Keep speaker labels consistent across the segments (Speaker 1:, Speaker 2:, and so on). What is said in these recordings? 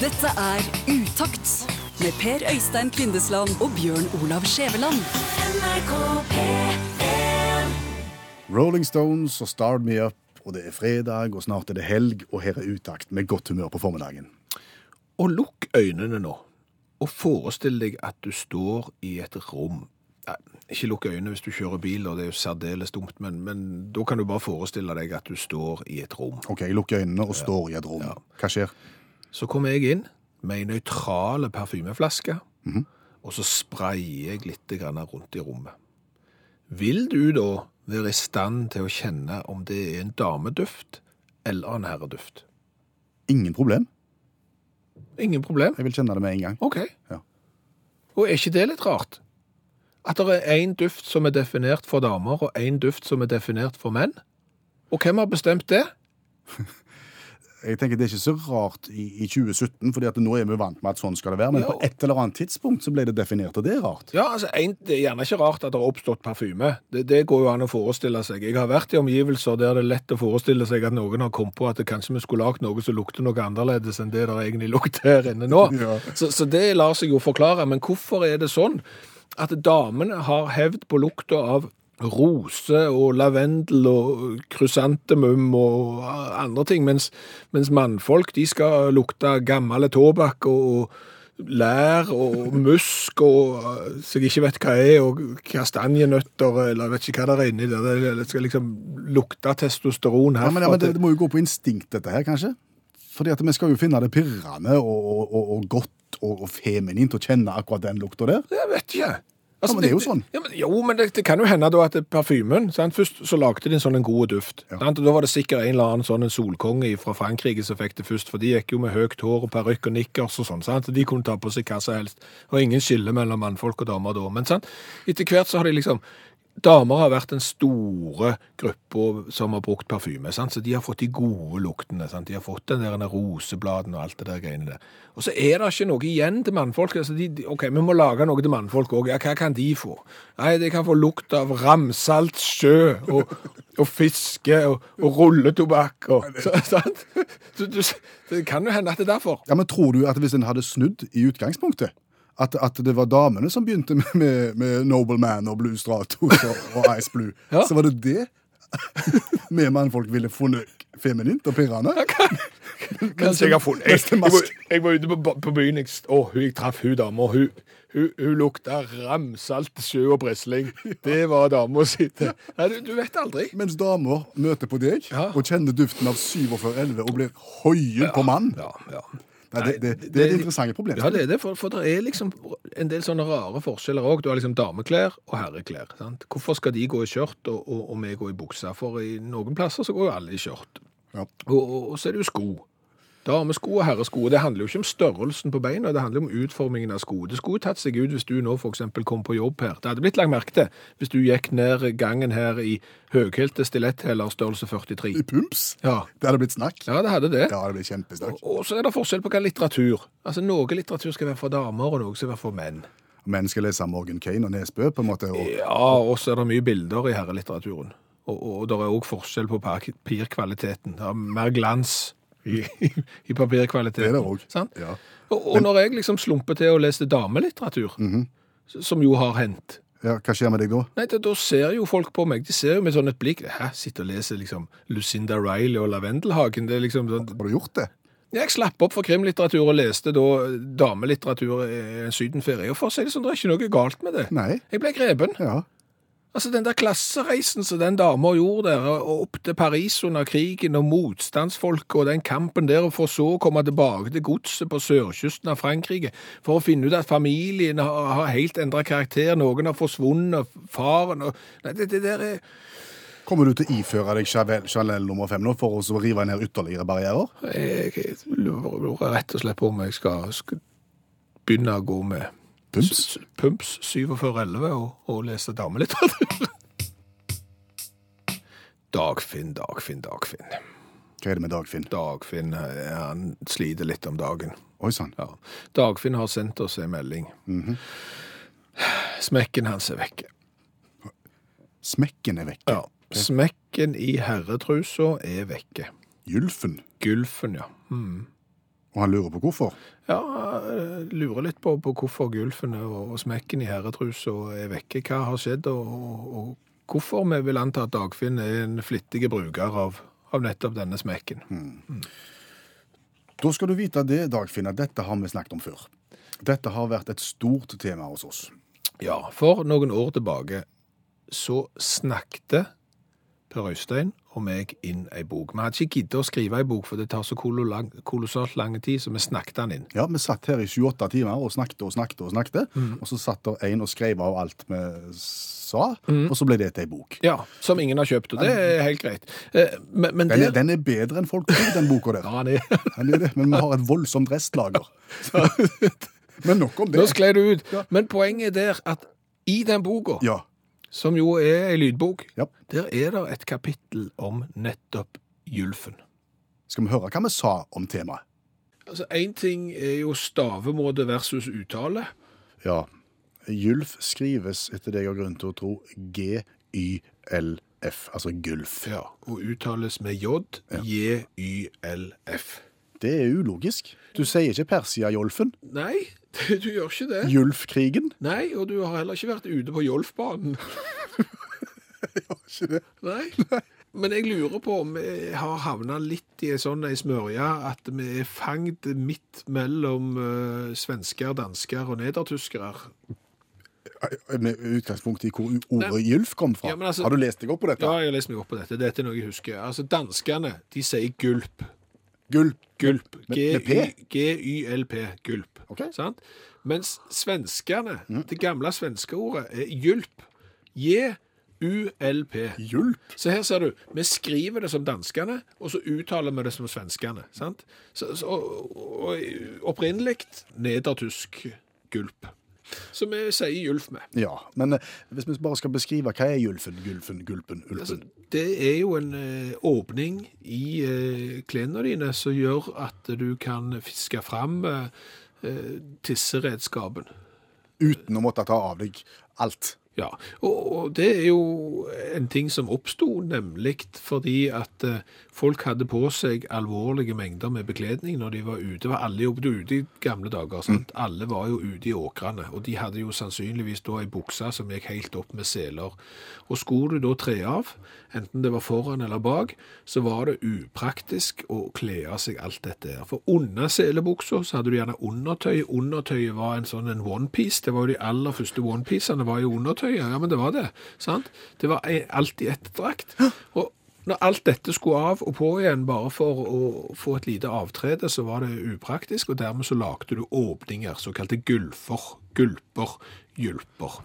Speaker 1: Dette er Utakt med Per Øystein Kvindesland og Bjørn Olav Skjæveland.
Speaker 2: Rolling Stones og Start Me Up, og det er fredag, og snart er det helg, og her er utakt med godt humør på formiddagen.
Speaker 3: Og lukk øynene nå, og forestill deg at du står i et rom. Nei, Ikke lukk øynene hvis du kjører bil, og det er jo særdeles dumt, men, men da kan du bare forestille deg at du står i et rom.
Speaker 2: Ok, jeg lukker øynene og står i et rom. Hva skjer?
Speaker 3: Så kommer jeg inn med en nøytrale parfymeflaske, og så sprayer jeg litt grann rundt i rommet. Vil du da være i stand til å kjenne om det er en dameduft eller en herreduft?
Speaker 2: Ingen problem.
Speaker 3: Ingen problem.
Speaker 2: Jeg vil kjenne det med en gang.
Speaker 3: Ok.
Speaker 2: Ja.
Speaker 3: Og er ikke det litt rart? At det er én duft som er definert for damer, og én duft som er definert for menn? Og hvem har bestemt det?
Speaker 2: Jeg tenker Det er ikke så rart i, i 2017, fordi at nå er vi vant med at sånn skal det være. Men
Speaker 3: Ja.
Speaker 2: på et eller annet tidspunkt så ble det definert, og det er rart.
Speaker 3: Ja, altså, en, Det er gjerne ikke rart at det har oppstått parfyme. Det, det går jo an å forestille seg. Jeg har vært i omgivelser der det er lett å forestille seg at noen har kommet på at det kanskje vi skulle lagd noe som lukter noe annerledes enn det der egentlig lukter her inne nå.
Speaker 2: Ja.
Speaker 3: Så, så det lar seg jo forklare. Men hvorfor er det sånn at damene har hevd på lukta av rose og lavendel og krysantemum og andre ting, mens, mens mannfolk de skal lukte gammel tobakk og, og lær og musk og eh, som jeg ikke vet hva er, og kastanjenøtter eller jeg vet ikke hva der er inni der. Det det skal liksom lukte testosteron
Speaker 2: Ja,
Speaker 3: her.
Speaker 2: men, ja, men det, det må jo gå på instinkt, dette her, kanskje? Fordi at vi skal jo finne det pirrende og, og, og, og godt og, og feminint å kjenne akkurat den lukta der.
Speaker 3: Jeg vet ikke.
Speaker 2: Ja, men det er jo sånn.
Speaker 3: Ja, men, jo, men det, det kan jo hende da at det- parfymen sant? Først så lagde de en sånn en god duft. Sant? Og da var det sikkert en eller annen sånn en solkonge fra Frankrike som fikk det først, for de gikk jo med høyt hår og parykk og nikkers og sånn. sant? Så De kunne ta på seg hva som helst. Og ingen skille mellom mannfolk og damer da. Men sant? etter hvert så har de liksom Damer har vært den store gruppa som har brukt parfyme. sant? Så de har fått de gode luktene. sant? De har fått den der denne rosebladen og alt det der greiene der. Og så er det ikke noe igjen til mannfolk. Altså de, de- OK, vi må lage noe til mannfolk òg. Ja, hva kan de få? Nei, de kan få lukt av ramsalt sjø og, og fiske og, og rulletobakk og så, Sant? Så du, det kan jo hende at det er derfor.
Speaker 2: Ja, men Tror du at hvis en hadde snudd i utgangspunktet, at, at det var damene som begynte med, med, med Nobleman og Blue Stratos og, og Ice Blue,
Speaker 3: Ja.
Speaker 2: så var det det vi mannfolk ville funnet feminint og pirrende?
Speaker 3: Kanskje jeg har funnet jeg,
Speaker 2: Neste
Speaker 3: jeg, var,
Speaker 2: mask.
Speaker 3: jeg var ute på, ba- på byen, jeg, å, hun, jeg traff hun dama. og Hun, hun, hun lukta ramsalt sjø og bresling. Det var dama si. det. Nei, Du, du vet aldri.
Speaker 2: Mens damer møter på deg
Speaker 3: Ja.
Speaker 2: og kjenner duften av 4711 og blir høyen på mann.
Speaker 3: Ja, ja.
Speaker 2: Nei, det, det, det, er
Speaker 3: det-
Speaker 2: et interessant problem.
Speaker 3: Ja, det er det, for, for det er liksom en del sånne rare forskjeller òg. Du har liksom dameklær og herreklær. sant? Hvorfor skal de gå i skjørt og, og, og vi gå i buksa? For i noen plasser så går jo alle i skjørt.
Speaker 2: Ja.
Speaker 3: Og, og, og så er det jo sko. Damesko og herresko. og Det handler jo ikke om størrelsen på beina, det handler om utformingen av sko. Det skulle jo tatt seg ut hvis du nå f.eks. kom på jobb her. Det hadde blitt lagt merke til hvis du gikk ned gangen her i høghælte stiletthæler størrelse 43.
Speaker 2: I pumps?
Speaker 3: Ja.
Speaker 2: Det hadde blitt snakk?
Speaker 3: ja, det hadde det.
Speaker 2: Ja, det blir kjempesnakk.
Speaker 3: Og så er det forskjell på hva litteratur. Altså, Noe litteratur skal være for damer, og noe skal være for menn.
Speaker 2: Menn skal lese Morgan Kane og Nesbø, på en måte. Og,
Speaker 3: Ja, og så er det mye bilder i herrelitteraturen. Og, og det er òg forskjell på papirkvaliteten. Det er mer glans i, i
Speaker 2: Det
Speaker 3: papirkvaliteten.
Speaker 2: er det òg.
Speaker 3: sant?
Speaker 2: Ja.
Speaker 3: Og, og når jeg liksom slumper til å lese damelitteratur, s- som jo har hendt
Speaker 2: ja, hva skjer med deg da?
Speaker 3: Nei, da, da ser jo folk på meg. De ser jo med sånn et blikk Hæ, sitter og leser liksom Lucinda Riley og Lavendelhagen? Det er liksom sånn
Speaker 2: Har du gjort det?
Speaker 3: Jeg slapp opp for krimlitteratur og leste da damelitteratur eh, en sydenferie. Og for å si det sånn, det er ikke noe galt med det.
Speaker 2: Nei.
Speaker 3: Jeg ble grepen.
Speaker 2: Ja.
Speaker 3: Altså, den der klassereisen som den dama gjorde der, og opp til Paris under krigen, og motstandsfolket og den kampen der, og for så å komme tilbake til godset på sørkysten av Frankrike, for å finne ut at familien har, har helt endra karakter, noen har forsvunnet, faren og Nei, det, det der er
Speaker 2: Kommer du til å iføre deg Chanel, Chanel nummer fem nå for å så rive ned ytterligere barrierer?
Speaker 3: Jeg jeg lurer rett og slett på om jeg skal, skal begynne å gå med
Speaker 2: Pumps?
Speaker 3: S- Pumps 4711 og, og lese damelitteratur. Dagfinn, Dagfinn, Dagfinn.
Speaker 2: Hva er det med Dagfinn?
Speaker 3: Dagfinn eh, han sliter litt om dagen.
Speaker 2: Oi sann.
Speaker 3: Ja. Dagfinn har sendt oss en melding. Smekken hans er vekke.
Speaker 2: Smekken er vekke.
Speaker 3: Ja. Smekken i herretrusa er vekke.
Speaker 2: Gylfen.
Speaker 3: Gulfen, ja. Mm.
Speaker 2: Og han lurer på hvorfor.
Speaker 3: Ja, jeg lurer litt på, på hvorfor gulfene og, og smekken i herretrusa er vekke. Hva har skjedd, og, og, og hvorfor vi vil anta at Dagfinn er en flittig bruker av, av nettopp denne smekken.
Speaker 2: Da skal du vite det, Dagfinn, at dette har vi snakket om før. Dette har vært et stort tema hos oss.
Speaker 3: Ja, for noen år tilbake så snakket Per Øystein og meg inn ei bok. Vi hadde ikke giddet å skrive ei bok, for det tar så kolo- lang- kolossalt lang tid, så vi snakket den inn.
Speaker 2: Ja, Vi satt her i 28 timer og snakket og snakket, og snakket, og så satt der en og skrev av alt vi sa, og så ble det til ei bok.
Speaker 3: Ja, Som ingen har kjøpt, og det er helt greit. Eh, Men, men
Speaker 2: Den er,
Speaker 3: der,
Speaker 2: den er bedre enn folk tror, den boka der.
Speaker 3: ja, det,
Speaker 2: Den er det, men vi har et voldsomt restlager. Men nok om
Speaker 3: Nå
Speaker 2: det.
Speaker 3: sklei du ut. Men poenget er der at i den boka,
Speaker 2: Ja,
Speaker 3: som jo er ei lydbok,
Speaker 2: Ja.
Speaker 3: der er det et kapittel om nettopp Gylfen.
Speaker 2: Skal vi høre hva vi sa om temaet?
Speaker 3: Altså, Én ting er jo stavemåte versus uttale.
Speaker 2: Ja. Gylf skrives, etter det jeg har grunn til å tro, G-Y-L-F, altså gulf.
Speaker 3: Ja, og uttales med J, J, Y, L, F.
Speaker 2: Det er ulogisk. Du sier ikke Persia-Jolfen,
Speaker 3: Nei, du gjør ikke det.
Speaker 2: Julfkrigen.
Speaker 3: Nei, og du har heller ikke vært ute på Jolfbanen.
Speaker 2: Ikke det.
Speaker 3: Nei. Men jeg lurer på om vi har havna litt i ei sånn ei smørje at vi er fangt midt mellom eh, svensker, dansker og nedertyskere.
Speaker 2: Med utgangspunkt i hvor ordet gylf kom fra.
Speaker 3: Ja, men altså-
Speaker 2: har du lest deg opp på dette?
Speaker 3: Ja, jeg har lest meg opp på dette. Dette er noe jeg husker. Altså, Danskene de sier gulp.
Speaker 2: Gulp.
Speaker 3: Gulp.
Speaker 2: med P?
Speaker 3: G-y- G-y-l-p. Gulp.
Speaker 2: Ok. Mm.
Speaker 3: Sant? Mens svenskene, det gamle svenske ordet, er gylp. J-u-l-p.
Speaker 2: Julp.
Speaker 3: Så her ser du, vi skriver det som danskene, og så uttaler vi det som svenskene. sant? Så, så, og, og opprinnelig nedertysk gulp. Så vi sier gulf med.
Speaker 2: Ja, men eh, hvis vi bare skal beskrive hva er gylfen, gulfen, gulpen, ulpen?
Speaker 3: Altså, det er jo en eh, åpning i eh, klærne dine som gjør at du kan fiske fram eh, eh, tisseredskapen.
Speaker 2: Uten å måtte ta av deg alt.
Speaker 3: Ja, og, og det er jo en ting som oppsto, nemlig fordi at eh, folk hadde på seg alvorlige mengder med bekledning når de var ute. Var alle jo ute i gamle dager, sant? Alle var jo ute i åkrene, og de hadde jo sannsynligvis da ei bukse som gikk helt opp med seler. Og skulle du da tre av, enten det var foran eller bak, så var det upraktisk å kle av seg alt dette her. For under selebuksa så hadde du gjerne undertøy. Undertøyet var en sånn en onepiece. Det var jo de aller første onepiecene var jo undertøyet. Ja, men det var det. Sant? Det var e- alltid et drakt. Og når alt dette skulle av og på igjen bare for å få et lite avtrede, så var det upraktisk, og dermed så lagde du åpninger, såkalte gulfer, gulper, gylper.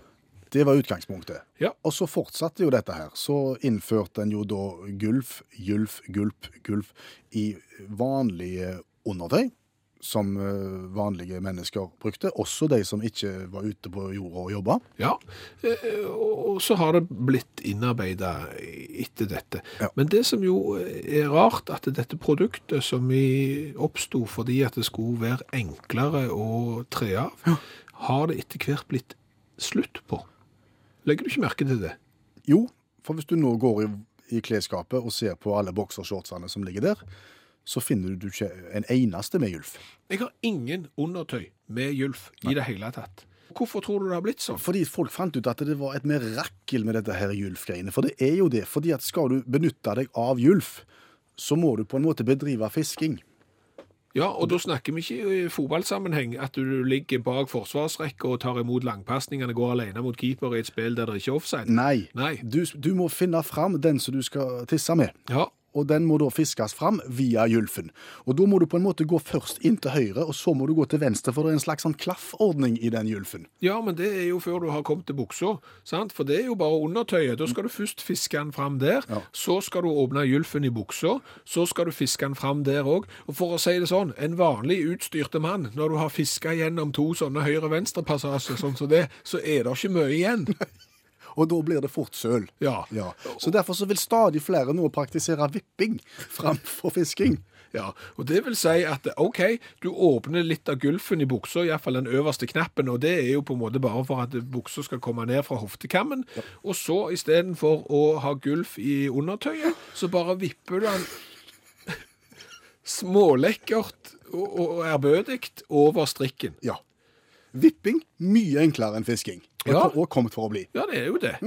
Speaker 2: Det var utgangspunktet.
Speaker 3: Ja.
Speaker 2: Og så fortsatte jo dette her. Så innførte en jo da gulf, gylf, gulp, gulf i vanlige undertøy. Som eh, vanlige mennesker brukte, også de som ikke var ute på jorda og jobba.
Speaker 3: Ja, eh, og og så har det blitt innarbeida etter dette.
Speaker 2: Ja.
Speaker 3: Men det som jo er rart, at dette produktet som vi oppsto fordi at det skulle være enklere å tre av, har det etter hvert blitt slutt på. Legger du ikke merke til det?
Speaker 2: Jo, for hvis du nå går i, i klesskapet og ser på alle boksershortsene som ligger der, så finner du ikke en eneste med gylf.
Speaker 3: Jeg har ingen undertøy med Gylf i det hele tatt. Hvorfor tror du det har blitt sånn?
Speaker 2: Fordi folk fant ut at det var et mirakel med dette her gylf-greiene. For det er jo det. Fordi at skal du benytte deg av gylf, så må du på en måte bedrive fisking.
Speaker 3: Ja, og da snakker vi ikke i fotballsammenheng at du ligger bak forsvarsrekka og tar imot langpasningene, går alene mot keeper i et spill der det ikke er offside.
Speaker 2: Nei.
Speaker 3: Nei.
Speaker 2: Du, du må finne fram den som du skal tisse med.
Speaker 3: Ja,
Speaker 2: Og den må da fiskes fram via gylfen. Og da må du på en måte gå først inn til høyre, og så må du gå til venstre, for det er en slags sånn klaffordning i den gylfen.
Speaker 3: ja, men det er jo før du har kommet til buksa, sant? for det er jo bare undertøyet. Da skal du først fiske den fram der,
Speaker 2: Ja.
Speaker 3: så skal du åpne gylfen i buksa, så skal du fiske den fram der òg. Og for å si det sånn, en vanlig utstyrte mann, når du har fiska gjennom to sånne høyre-venstre-passasjer sånn som det, så er det ikke mye igjen.
Speaker 2: Og da blir det fort søl.
Speaker 3: Ja.
Speaker 2: Ja. Så derfor så vil stadig flere nå praktisere vipping framfor fisking.
Speaker 3: Ja, og det vil si at OK, du åpner litt av gulfen i buksa, iallfall den øverste knappen, og det er jo på en måte bare for at buksa skal komme ned fra hoftekammen. Og så istedenfor å ha gulf i undertøyet, så bare vipper du den smålekkert og, og ærbødig over strikken.
Speaker 2: Ja. Vipping mye enklere enn fisking. Og,
Speaker 3: Ja.
Speaker 2: og kommet for å bli.
Speaker 3: Ja, det er jo det.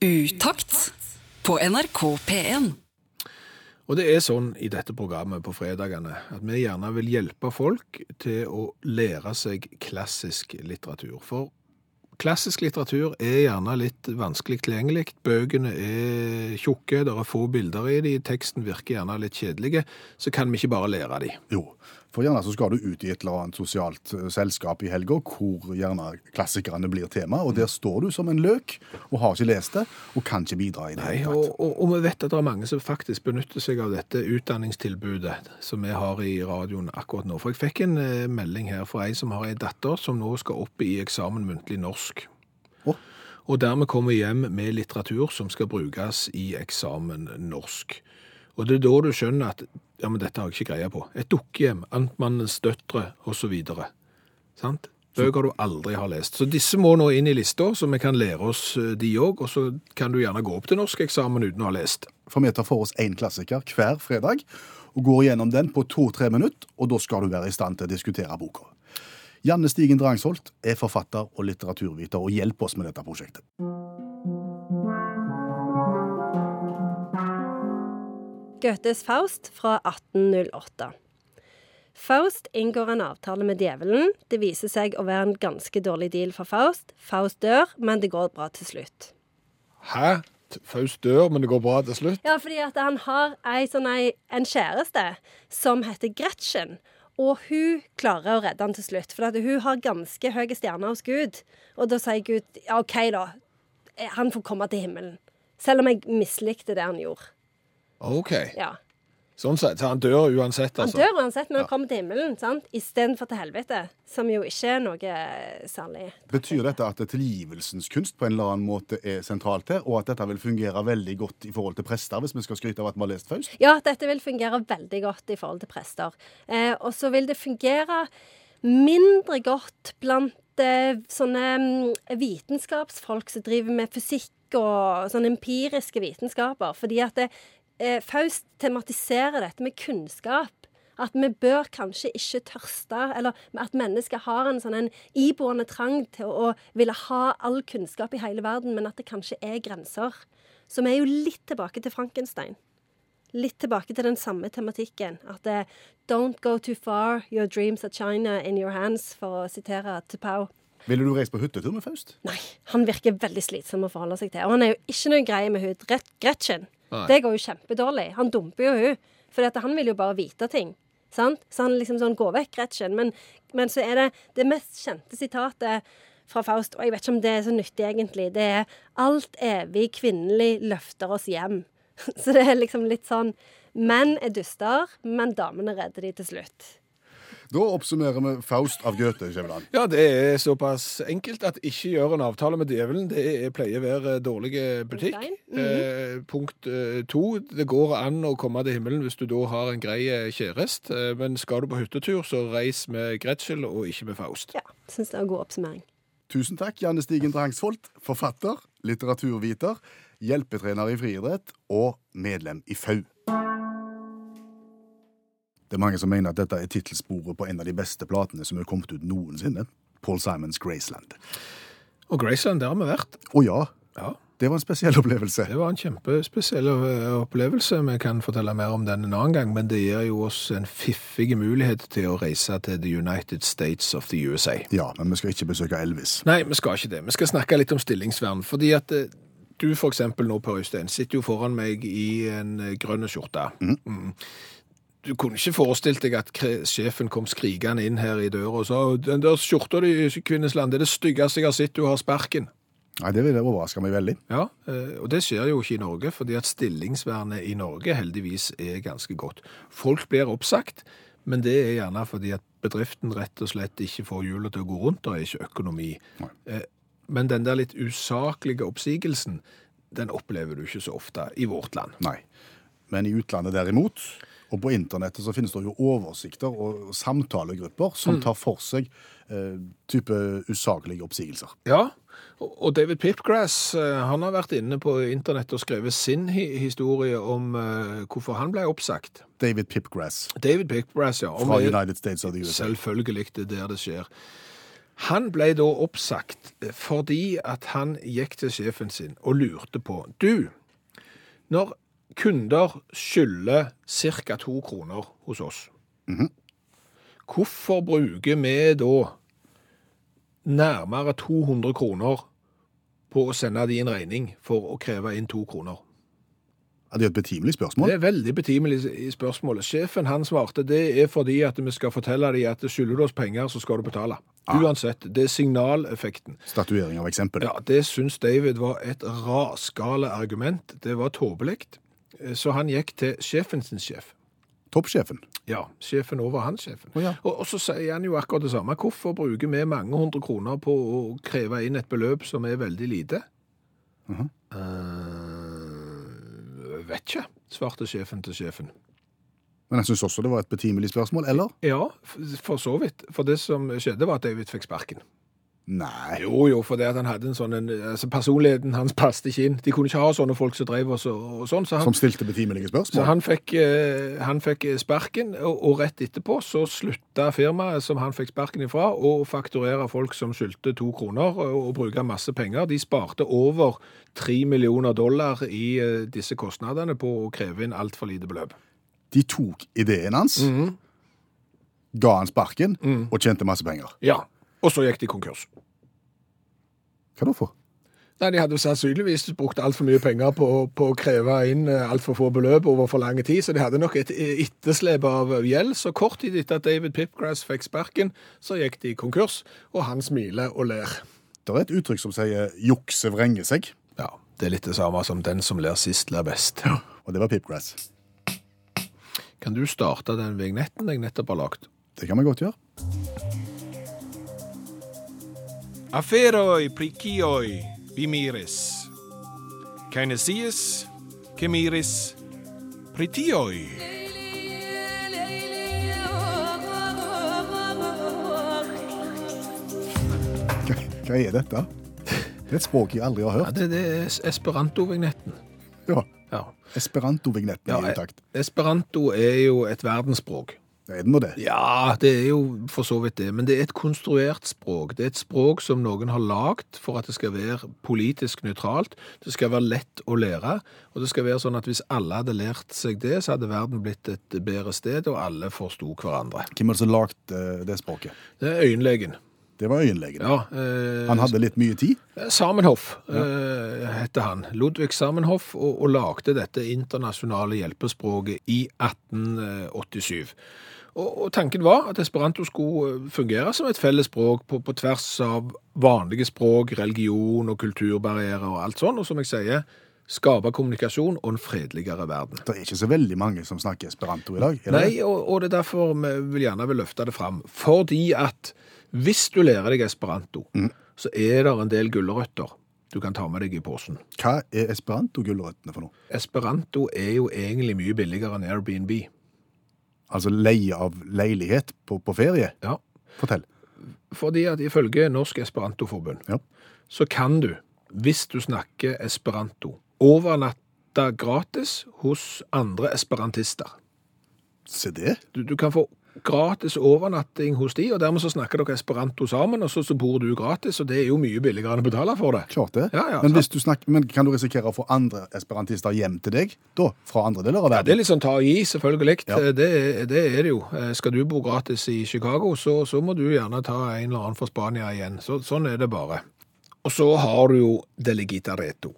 Speaker 1: Utakt på NRK P1.
Speaker 3: Og det er sånn i dette programmet på fredagene at vi gjerne vil hjelpe folk til å lære seg klassisk litteratur. For klassisk litteratur er gjerne litt vanskelig tilgjengelig. Bøkene er tjukke, det er få bilder i de, teksten virker gjerne litt kjedelige, så kan vi ikke bare lære de.
Speaker 2: Jo. For gjerne så skal du ut i et eller annet sosialt eh, selskap i helga, hvor gjerne klassikerne blir tema, og der står du som en løk og har ikke lest det, og kan ikke bidra i det.
Speaker 3: Nei,
Speaker 2: hele tatt.
Speaker 3: og, og, og vi vet at det er mange som faktisk benytter seg av dette utdanningstilbudet som vi har i radioen akkurat nå. For jeg fikk en eh, melding her fra ei som har ei datter som nå skal opp i eksamen muntlig norsk.
Speaker 2: Å.
Speaker 3: Og dermed kommer hjem med litteratur som skal brukes i eksamen norsk. Og det er da du skjønner at ja, men dette har jeg ikke greie på. Et dukkehjem, Antmannens døtre osv. Sant? Bøker du aldri har lest. Så disse må nå inn i lista, så vi kan lære oss eh, de òg. Og så kan du gjerne gå opp til norskeksamen uten å ha lest.
Speaker 2: For vi tar for oss én klassiker hver fredag og går gjennom den på to-tre minutter, og da skal du være i stand til å diskutere boka. Janne Stigen Drangsholt er forfatter og litteraturviter og hjelper oss med dette prosjektet.
Speaker 4: Goethes Faust fra 1808. Faust inngår en avtale med djevelen. Det viser seg å være en ganske dårlig deal for Faust. Faust dør, men det går bra til slutt.
Speaker 3: Hæ? Faust dør, men det går bra til slutt?
Speaker 4: Ja, fordi at han har ei, sånn ei, en kjæreste som heter Gretchen. Og hun klarer å redde han til slutt, for at hun har ganske høye stjerner hos Gud. Og da sier Gud ja, OK, da. Han får komme til himmelen. Selv om jeg mislikte det han gjorde.
Speaker 3: OK.
Speaker 4: Ja.
Speaker 3: Sånn sett. Så han dør uansett,
Speaker 4: Han
Speaker 3: altså.
Speaker 4: dør uansett, men han kommer til himmelen sant? istedenfor til helvete. Som jo ikke er noe særlig.
Speaker 2: Betyr dette at tilgivelsens kunst på en eller annen måte er sentralt her, og at dette vil fungere veldig godt i forhold til prester, hvis vi skal skryte av at vi har lest Faust?
Speaker 4: Ja, dette vil fungere veldig godt i forhold til prester. Eh, og så vil det fungere mindre godt blant eh, sånne mm, vitenskapsfolk som driver med fysikk og sånne empiriske vitenskaper. Fordi at det, eh, Faust tematiserer dette med kunnskap. At vi bør kanskje ikke tørste, eller at mennesker har en sånn en iboende trang til å ville ha all kunnskap i hele verden, men at det kanskje er grenser. Så vi er jo litt tilbake til Frankenstein litt tilbake til den samme tematikken. At det er Don't go too far, your dreams are China in your hands, for å sitere Tupau.
Speaker 2: Ville du reist på hyttetur med Faust?
Speaker 4: Nei, han virker veldig slitsom å forholde seg til. Og han er jo ikke noe grei med hun Gret- Gretchen.
Speaker 3: Nei.
Speaker 4: Det går jo kjempedårlig. Han dumper jo hun. For han vil jo bare vite ting. Sant? Så han liksom sånn Gå vekk, Gretchen. Men, men så er det det mest kjente sitatet fra Faust, og jeg vet ikke om det er så nyttig egentlig, det er 'Alt evig kvinnelig løfter oss hjem'. Så det er liksom litt sånn Menn er duster, men damene redder de til slutt.
Speaker 2: Da oppsummerer vi Faust av Goethe, Skjæveland.
Speaker 3: Ja, det er såpass enkelt at ikke gjør en avtale med djevelen. Det er, pleier å være dårlig butikk.
Speaker 4: Nei.
Speaker 3: eh,
Speaker 4: Mhm.
Speaker 3: punkt eh, to, det går an å komme til himmelen hvis du da har en grei eh, kjæreste. Eh, men skal du på hyttetur, så reis med Gretschel og ikke med Faust.
Speaker 4: Ja, Syns det er en god oppsummering.
Speaker 2: Tusen takk, Janne Stigen Drangsvold, forfatter, litteraturviter, hjelpetrener i friidrett og medlem i FAU. Det er mange som mener at dette er tittelsporet på en av de beste platene som er kommet ut noensinne. Paul Simons Graceland.
Speaker 3: Og Graceland, der har vi vært.
Speaker 2: Å ja,
Speaker 3: Ja,
Speaker 2: det var en spesiell opplevelse.
Speaker 3: Det var en kjempespesiell ø, opplevelse. Vi kan fortelle mer om den en annen gang, men det gir jo oss en fiffig mulighet til å reise til The United States of the USA.
Speaker 2: Ja, men vi skal ikke besøke Elvis.
Speaker 3: Nei, vi skal ikke det. Vi skal snakke litt om stillingsvern. Fordi at eh, du for eksempel nå, Per Øystein, sitter jo foran meg i en eh, grønn skjorte. Mm. Du kunne ikke forestilt deg at kre- sjefen kom skrikende inn her i døra og sa den der skjorta di, Kvinnesland, det er det styggeste jeg har sett, du har sparken.
Speaker 2: Nei, det ville overraske meg veldig.
Speaker 3: Ja, eh, og det skjer jo ikke i Norge, fordi at stillingsvernet i Norge heldigvis er ganske godt. Folk blir oppsagt, men det er gjerne fordi at bedriften rett og slett ikke får hjulet til å gå rundt, det er ikke økonomi. Eh, Men den der litt usaklige oppsigelsen, den opplever du ikke så ofte i vårt land.
Speaker 2: Nei. Men i utlandet derimot Og på internettet så finnes det jo oversikter og samtalegrupper
Speaker 3: Mm.
Speaker 2: som tar for seg eh, type usaklige oppsigelser.
Speaker 3: Ja, og og David Pipgrass eh, han har vært inne på internett og skrevet sin hi historie om eh, hvorfor han ble oppsagt.
Speaker 2: David Pipgrass
Speaker 3: David Pipgrass, ja. om-
Speaker 2: fra United States of the USA.
Speaker 3: Selvfølgelig det er der det skjer. Han ble da oppsagt eh, fordi at han gikk til sjefen sin og lurte på Du, når kunder skylder ca. to kroner hos oss, hvorfor bruker vi da nærmere 200 kroner på å sende de en regning for å kreve inn to kroner?
Speaker 2: Ja, det er et betimelig spørsmål.
Speaker 3: Det er veldig betimelig i spørsmålet. Sjefen han svarte det er fordi at vi skal fortelle deg at skylder du oss penger, så skal du betale. Uansett, det er signaleffekten.
Speaker 2: Statuering av eksempel.
Speaker 3: Ja, Det syns David var et raskale argument. Det var tåpelig. Eh, Så han gikk til sjefen sin sjef.
Speaker 2: Toppsjefen.
Speaker 3: Ja, sjefen over han sjefen.
Speaker 2: Å ja.
Speaker 3: og, og så sier han jo akkurat det samme. Hvorfor bruker vi mange hundre kroner på å kreve inn et beløp som er veldig lite?
Speaker 2: Mhm.
Speaker 3: Eh, vet ikke, svarte sjefen til sjefen.
Speaker 2: Men jeg syns også det var et betimelig spørsmål. Eller?
Speaker 3: Ja, f- for så vidt. For det som skjedde var at David fikk sparken.
Speaker 2: Nei.
Speaker 3: Jo, jo, for det at han hadde en sånn en, altså Personligheten hans passet ikke inn. De kunne ikke ha sånne folk som drev og, så, og sånn. Så han,
Speaker 2: Som stilte betimelige
Speaker 3: så
Speaker 2: spørsmål.
Speaker 3: han fikk, eh, han fikk sparken, og, og rett etterpå så slutta firmaet som han fikk sparken ifra, å fakturere folk som skyldte to kroner, og, og bruke masse penger. De sparte over tre millioner dollar i eh, disse kostnadene på å kreve inn altfor lite beløp.
Speaker 2: De tok ideen hans,
Speaker 3: Mhm.
Speaker 2: ga han sparken
Speaker 3: Mm.
Speaker 2: og tjente masse penger.
Speaker 3: Ja. Og så gikk de konkurs.
Speaker 2: Hva da for?
Speaker 3: Nei, De hadde jo sannsynligvis brukt altfor mye penger på, på å kreve inn eh, altfor få beløp over for lang tid, så de hadde nok et eh, etterslep av gjeld. Så kort tid etter at David Pipgrass fikk sparken, så gikk de konkurs, og han smiler og ler.
Speaker 2: Det er et uttrykk som sier 'jukse vrenger seg',
Speaker 3: Ja, Det er litt det samme som den som ler sist, ler best.
Speaker 2: og det var Pipgrass.
Speaker 3: Kan du starte den vignetten jeg nettopp har lagd?
Speaker 2: Det kan vi godt gjøre.
Speaker 5: Aferoi pricioi vimiris. Kinesias, chemiris, pritioi.
Speaker 2: Hva, hva er dette? Det er et språk jeg aldri har hørt.
Speaker 3: det, er esperanto-vignetten.
Speaker 2: Ja.
Speaker 3: Ja.
Speaker 2: Esperanto-vignetten er i takt.
Speaker 3: e- Esperanto er jo et verdensspråk.
Speaker 2: Er den nå det?
Speaker 3: Ja, det er jo for så vidt det, men det er et konstruert språk. Det er et språk som noen har lagd for at det skal være politisk nøytralt, det skal være lett å lære, og det skal være sånn at hvis alle hadde lært seg det, så hadde verden blitt et bedre sted, og alle forsto hverandre.
Speaker 2: Hvem var det som lagde eh, det språket?
Speaker 3: Det er øyenlegen.
Speaker 2: Det var øyenlegen.
Speaker 3: Ja, eh,
Speaker 2: Han hadde litt mye tid.
Speaker 3: Samenhoff eh, hette han. Ludvig Samenhoff, og, og lagde dette internasjonale hjelpespråket i 1887. Og, og tanken var at esperanto skulle eh, fungere som et felles språk på, på tvers av vanlige språk, religion og kulturbarrierer og alt sånn, og som jeg sier, skape kommunikasjon og en fredeligere verden.
Speaker 2: Det er ikke så veldig mange som snakker esperanto i dag. Er det det?
Speaker 3: Nei, og, og det er derfor vi vil gjerne vil løfte det fram. Fordi at hvis du lærer deg esperanto,
Speaker 2: Mm.
Speaker 3: så er det en del gulrøtter du kan ta med deg i posen.
Speaker 2: Hva er esperanto-gulrøttene for noe?
Speaker 3: Esperanto er jo egentlig mye billigere enn Airbnb.
Speaker 2: Altså leie av leilighet på, på ferie?
Speaker 3: Ja.
Speaker 2: Fortell.
Speaker 3: Fordi at ifølge Norsk Esperantoforbund,
Speaker 2: Ja.
Speaker 3: så kan du, hvis du snakker esperanto, overnatte gratis hos andre esperantister.
Speaker 2: Se det.
Speaker 3: Du, du kan få gratis overnatting hos de, og dermed så snakker dere esperanto sammen, og så, så bor du gratis, og det er jo mye billigere enn å betale for det.
Speaker 2: Klart det.
Speaker 3: Ja, ja,
Speaker 2: men,
Speaker 3: sant.
Speaker 2: hvis du snakker, men kan du risikere å få andre esperantister hjem til deg, da? Fra andre deler av
Speaker 3: Ja, det er
Speaker 2: verden?
Speaker 3: litt sånn ta og gi, selvfølgelig. Eh,
Speaker 2: Ja.
Speaker 3: Det, er- det er det jo. Eh, Skal du bo gratis i Chicago, så, så må du gjerne ta en eller annen fra Spania igjen. Så, sånn er det bare. Og så har du jo Delegita Reto.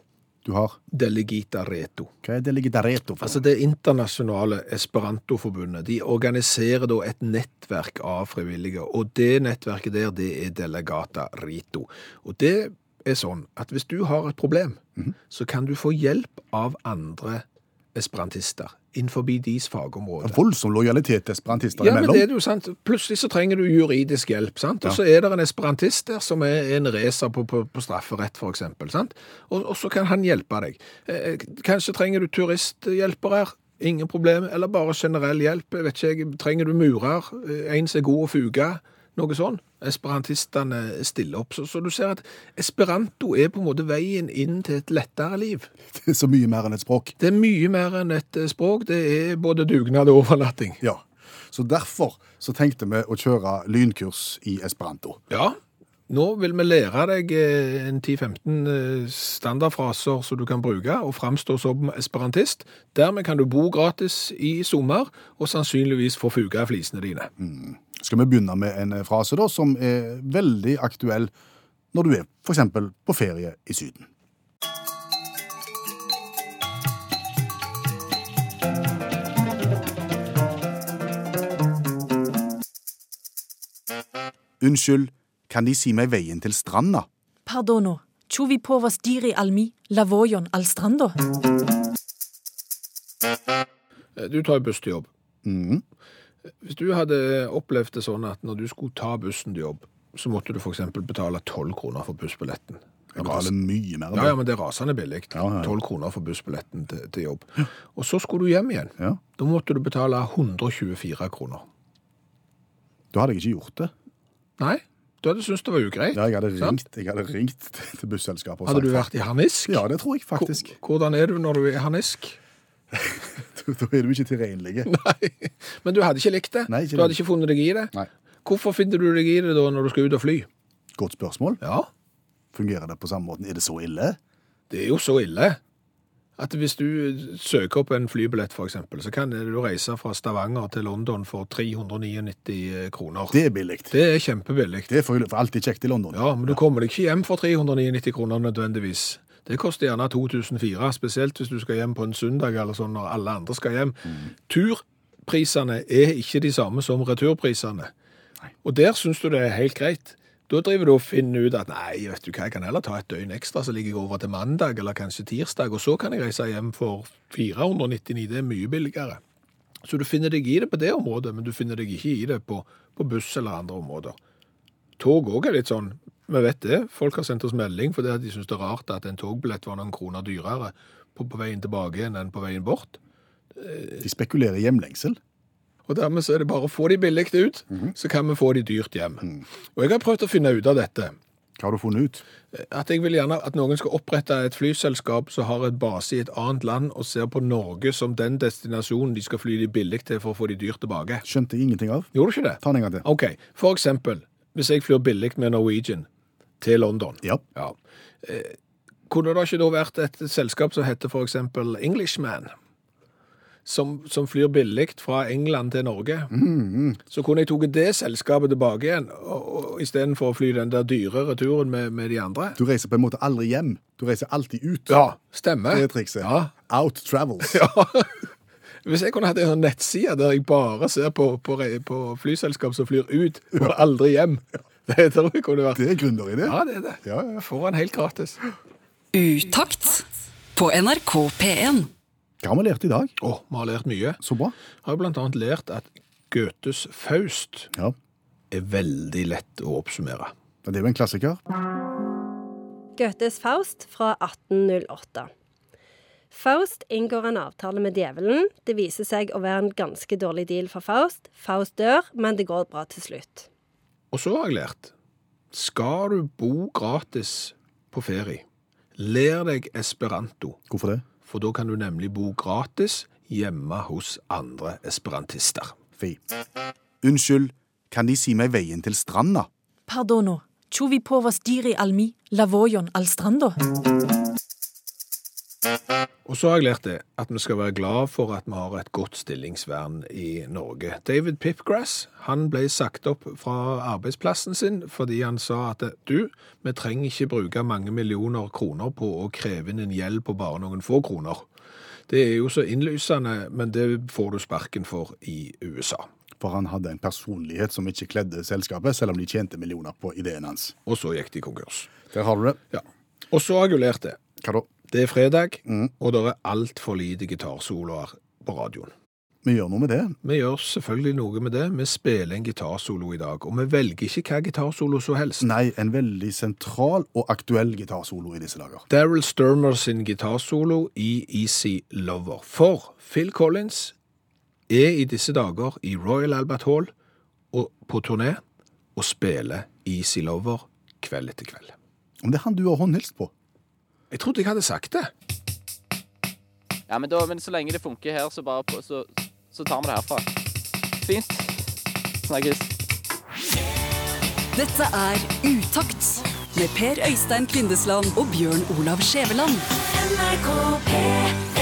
Speaker 2: Du har
Speaker 3: Delegita Reto.
Speaker 2: Hva er delegidareto for?
Speaker 3: Altså Det internasjonale esperantoforbundet de organiserer da et nettverk av frivillige. og Det nettverket der det er Delegata Rito. Og Det er sånn at hvis du har et problem, så kan du få hjelp av andre esperantister innenfor deres fagområde.
Speaker 2: noe? Voldsom lojalitet til esperantister
Speaker 3: Ja, men
Speaker 2: imellom.
Speaker 3: det er det jo sant. Plutselig så trenger du juridisk hjelp, sant? Og så er det en esperantist der som er en racer på, på, på strafferett, for eh, eksempel, sant? Og, og så kan han hjelpe deg. Eh, kanskje trenger du turisthjelper her. Ingen problem. Eller bare generell hjelp. Jeg vet ikke, jeg, Trenger du murer? Eh, En som er god å fuge? Noe sånn. Esperantistene stiller opp. Så, så du ser at esperanto er på en måte veien inn til et lettere liv.
Speaker 2: Det er så mye mer enn et språk.
Speaker 3: Det er mye mer enn et eh, språk. Det er både dugnad og overnatting.
Speaker 2: Ja. Så derfor så tenkte vi å kjøre lynkurs i esperanto.
Speaker 3: Ja. Nå vil vi lære deg eh, en 10-15 eh, standardfraser som du kan bruke og framstå som esperantist. Dermed kan du bo gratis i sommer og sannsynligvis få fuga av flisene dine.
Speaker 2: Mm. Skal vi begynne med en eh, frase da, som er veldig aktuell når du er f.eks. på ferie i Syden. Unnskyld, kan De si meg veien til stranda?
Speaker 6: Pardono, ĉu vi povas diri al mi la vojon al strando?
Speaker 3: Eh, Du tar jo buss til jobb.
Speaker 2: Mm.
Speaker 3: Hvis du hadde opplevd det sånn at når du skulle ta bussen til jobb, så måtte du f.eks. betale 12 kroner for bussbilletten.
Speaker 2: Jeg betaler mye mer enn
Speaker 3: Ja,
Speaker 2: det.
Speaker 3: ja, men det er rasende billig.
Speaker 2: Ja, ja, ja.
Speaker 3: 12 kroner for bussbilletten til, til jobb. Og så skulle du hjem igjen.
Speaker 2: Ja.
Speaker 3: Da måtte du betale 124 kroner.
Speaker 2: Da hadde jeg ikke gjort det.
Speaker 3: Nei, du hadde syntes det var ugreit.
Speaker 2: Ja, jeg hadde
Speaker 3: sant?
Speaker 2: ringt, jeg hadde ringt til busselskapet. og
Speaker 3: Hadde
Speaker 2: sagt-
Speaker 3: du vært i harnisk?
Speaker 2: Ja, det tror jeg faktisk.
Speaker 3: Hvor- Hvordan er du når du er i harnisk?
Speaker 2: Da er du ikke tilregnelig.
Speaker 3: Nei. Men du hadde ikke likt det?
Speaker 2: Nei, ikke
Speaker 3: du hadde
Speaker 2: likt.
Speaker 3: ikke funnet deg i det?
Speaker 2: Nei.
Speaker 3: Hvorfor finner du deg i det da når du skal ut og fly?
Speaker 2: Godt spørsmål.
Speaker 3: Ja,
Speaker 2: Fungerer det på samme måten? Er det så ille?
Speaker 3: det er jo så ille at hvis du søker opp en flybillett for eksempel, så kan du reise fra Stavanger til London for 399 kroner.
Speaker 2: Det er billig.
Speaker 3: Det er kjempebillig.
Speaker 2: Det er for, for alltid kjekt i London.
Speaker 3: Ja, men du kommer deg ikke hjem for 399 kroner nødvendigvis. Det koster gjerne 2004, spesielt hvis du skal hjem på en søndag eller sånn når alle andre skal hjem. Turprisene er ikke de samme som returprisene. Og der syns du det er helt greit. Da driver du og finner ut at nei, vet du hva, jeg kan heller ta et døgn ekstra, så ligger jeg over til mandag eller kanskje tirsdag, og så kan jeg reise hjem for 499, det er mye billigere. Så du finner deg i det på det området, men du finner deg ikke i det på, på buss eller andre områder. Tog òg er litt sånn. Vi vet det. Folk har sendt oss melding fordi at de syns det er rart at en togbillett var noen kroner dyrere på, på veien tilbake igjen enn på veien bort.
Speaker 2: De spekulerer i hjemlengsel.
Speaker 3: Og dermed så er det bare å få de billig ut, så kan vi få de dyrt hjem. Og jeg har prøvd å finne ut av dette.
Speaker 2: Hva har du funnet ut?
Speaker 3: At jeg vil gjerne at noen skal opprette et flyselskap som har et base i et annet land, og ser på Norge som den destinasjonen de skal fly de billig til for å få de dyrt tilbake.
Speaker 2: Skjønte jeg ingenting av.
Speaker 3: Gjorde du ikke det?
Speaker 2: Ta den en gang til.
Speaker 3: OK. For eksempel, hvis jeg flyr billig med Norwegian til London.
Speaker 2: Ja.
Speaker 3: Ja. Eh, kunne det ikke da vært et selskap som heter for eksempel Englishman? Som, som flyr billig fra England til Norge.
Speaker 2: Mm-hmm.
Speaker 3: Så kunne jeg tatt det selskapet tilbake igjen, og, og, istedenfor å fly den der dyre returen med, med de andre.
Speaker 2: Du reiser på en måte aldri hjem. Du reiser alltid ut.
Speaker 3: Ja, stemmer.
Speaker 2: Det er trikset.
Speaker 3: Ja.
Speaker 2: Out travels.
Speaker 3: Hvis jeg kunne hatt en sånn nettside der jeg bare ser på, på, re- på flyselskap som flyr ut, og aldri hjem, det tror jeg kunne vært
Speaker 2: Det er gründer i det.
Speaker 3: Ja, det er det.
Speaker 2: Ja, ja.
Speaker 3: Får han helt gratis. Å,
Speaker 1: Utakt på NRK P1.
Speaker 2: Hva har vi lært i dag?
Speaker 3: vi har lært mye.
Speaker 2: Så bra.
Speaker 3: Jeg har blant annet lært at Goethes Faust
Speaker 2: Ja.
Speaker 3: er veldig lett å oppsummere.
Speaker 2: Men Det er jo en klassiker.
Speaker 4: Goethes Faust fra 1808. Faust inngår en avtale med djevelen. Det viser seg å være en ganske dårlig deal for Faust. Faust dør, men det går bra til slutt.
Speaker 3: Og så har jeg lært skal du bo gratis på ferie, lær deg esperanto,
Speaker 2: Hvorfor det?
Speaker 3: for da kan du nemlig bo gratis hjemme hos andre esperantister.
Speaker 2: Fi. Unnskyld, kan De si meg veien til stranda?
Speaker 6: Pardono, ĉu vi povas diri al mi la vojon al strando?
Speaker 3: Og så har jeg lært det at vi skal være glad for at vi har et godt stillingsvern i Norge. David Pipgrass han ble sagt opp fra arbeidsplassen sin fordi han sa at du, vi trenger ikke bruke mange millioner kroner på å kreve inn en gjeld på bare noen få kroner. Det er jo så innlysende, men det får du sparken for i USA.
Speaker 2: For han hadde en personlighet som ikke kledde selskapet, selv om de tjente millioner på ideen hans.
Speaker 3: Og så gikk de konkurs.
Speaker 2: Der har du det.
Speaker 3: Ja. Og så har jeg jo lært det.
Speaker 2: Hva da?
Speaker 3: Det er fredag, og det er altfor lite gitarsoloer på radioen.
Speaker 2: Vi gjør noe med det.
Speaker 3: Vi gjør selvfølgelig noe med det. Vi spiller en gitarsolo i dag, og vi velger ikke hva gitarsolo som helst.
Speaker 2: Nei, en veldig sentral og aktuell gitarsolo i disse dager.
Speaker 3: Daryl Sturmer sin gitarsolo i Easy Lover. For Phil Collins er i disse dager i Royal Albert Hall og på turné og spiller Easy Lover kveld etter kveld.
Speaker 2: Om det er han du har håndhilst på?
Speaker 3: Jeg trodde jeg hadde sagt det.
Speaker 7: Ja, men, da, men så lenge det funker her, så, bare på, så, så tar vi det herfra. Fint. Snakkes.
Speaker 1: Dette er Utakt med Per Øystein Kvindesland og Bjørn Olav Skjæveland.
Speaker 8: NRK P3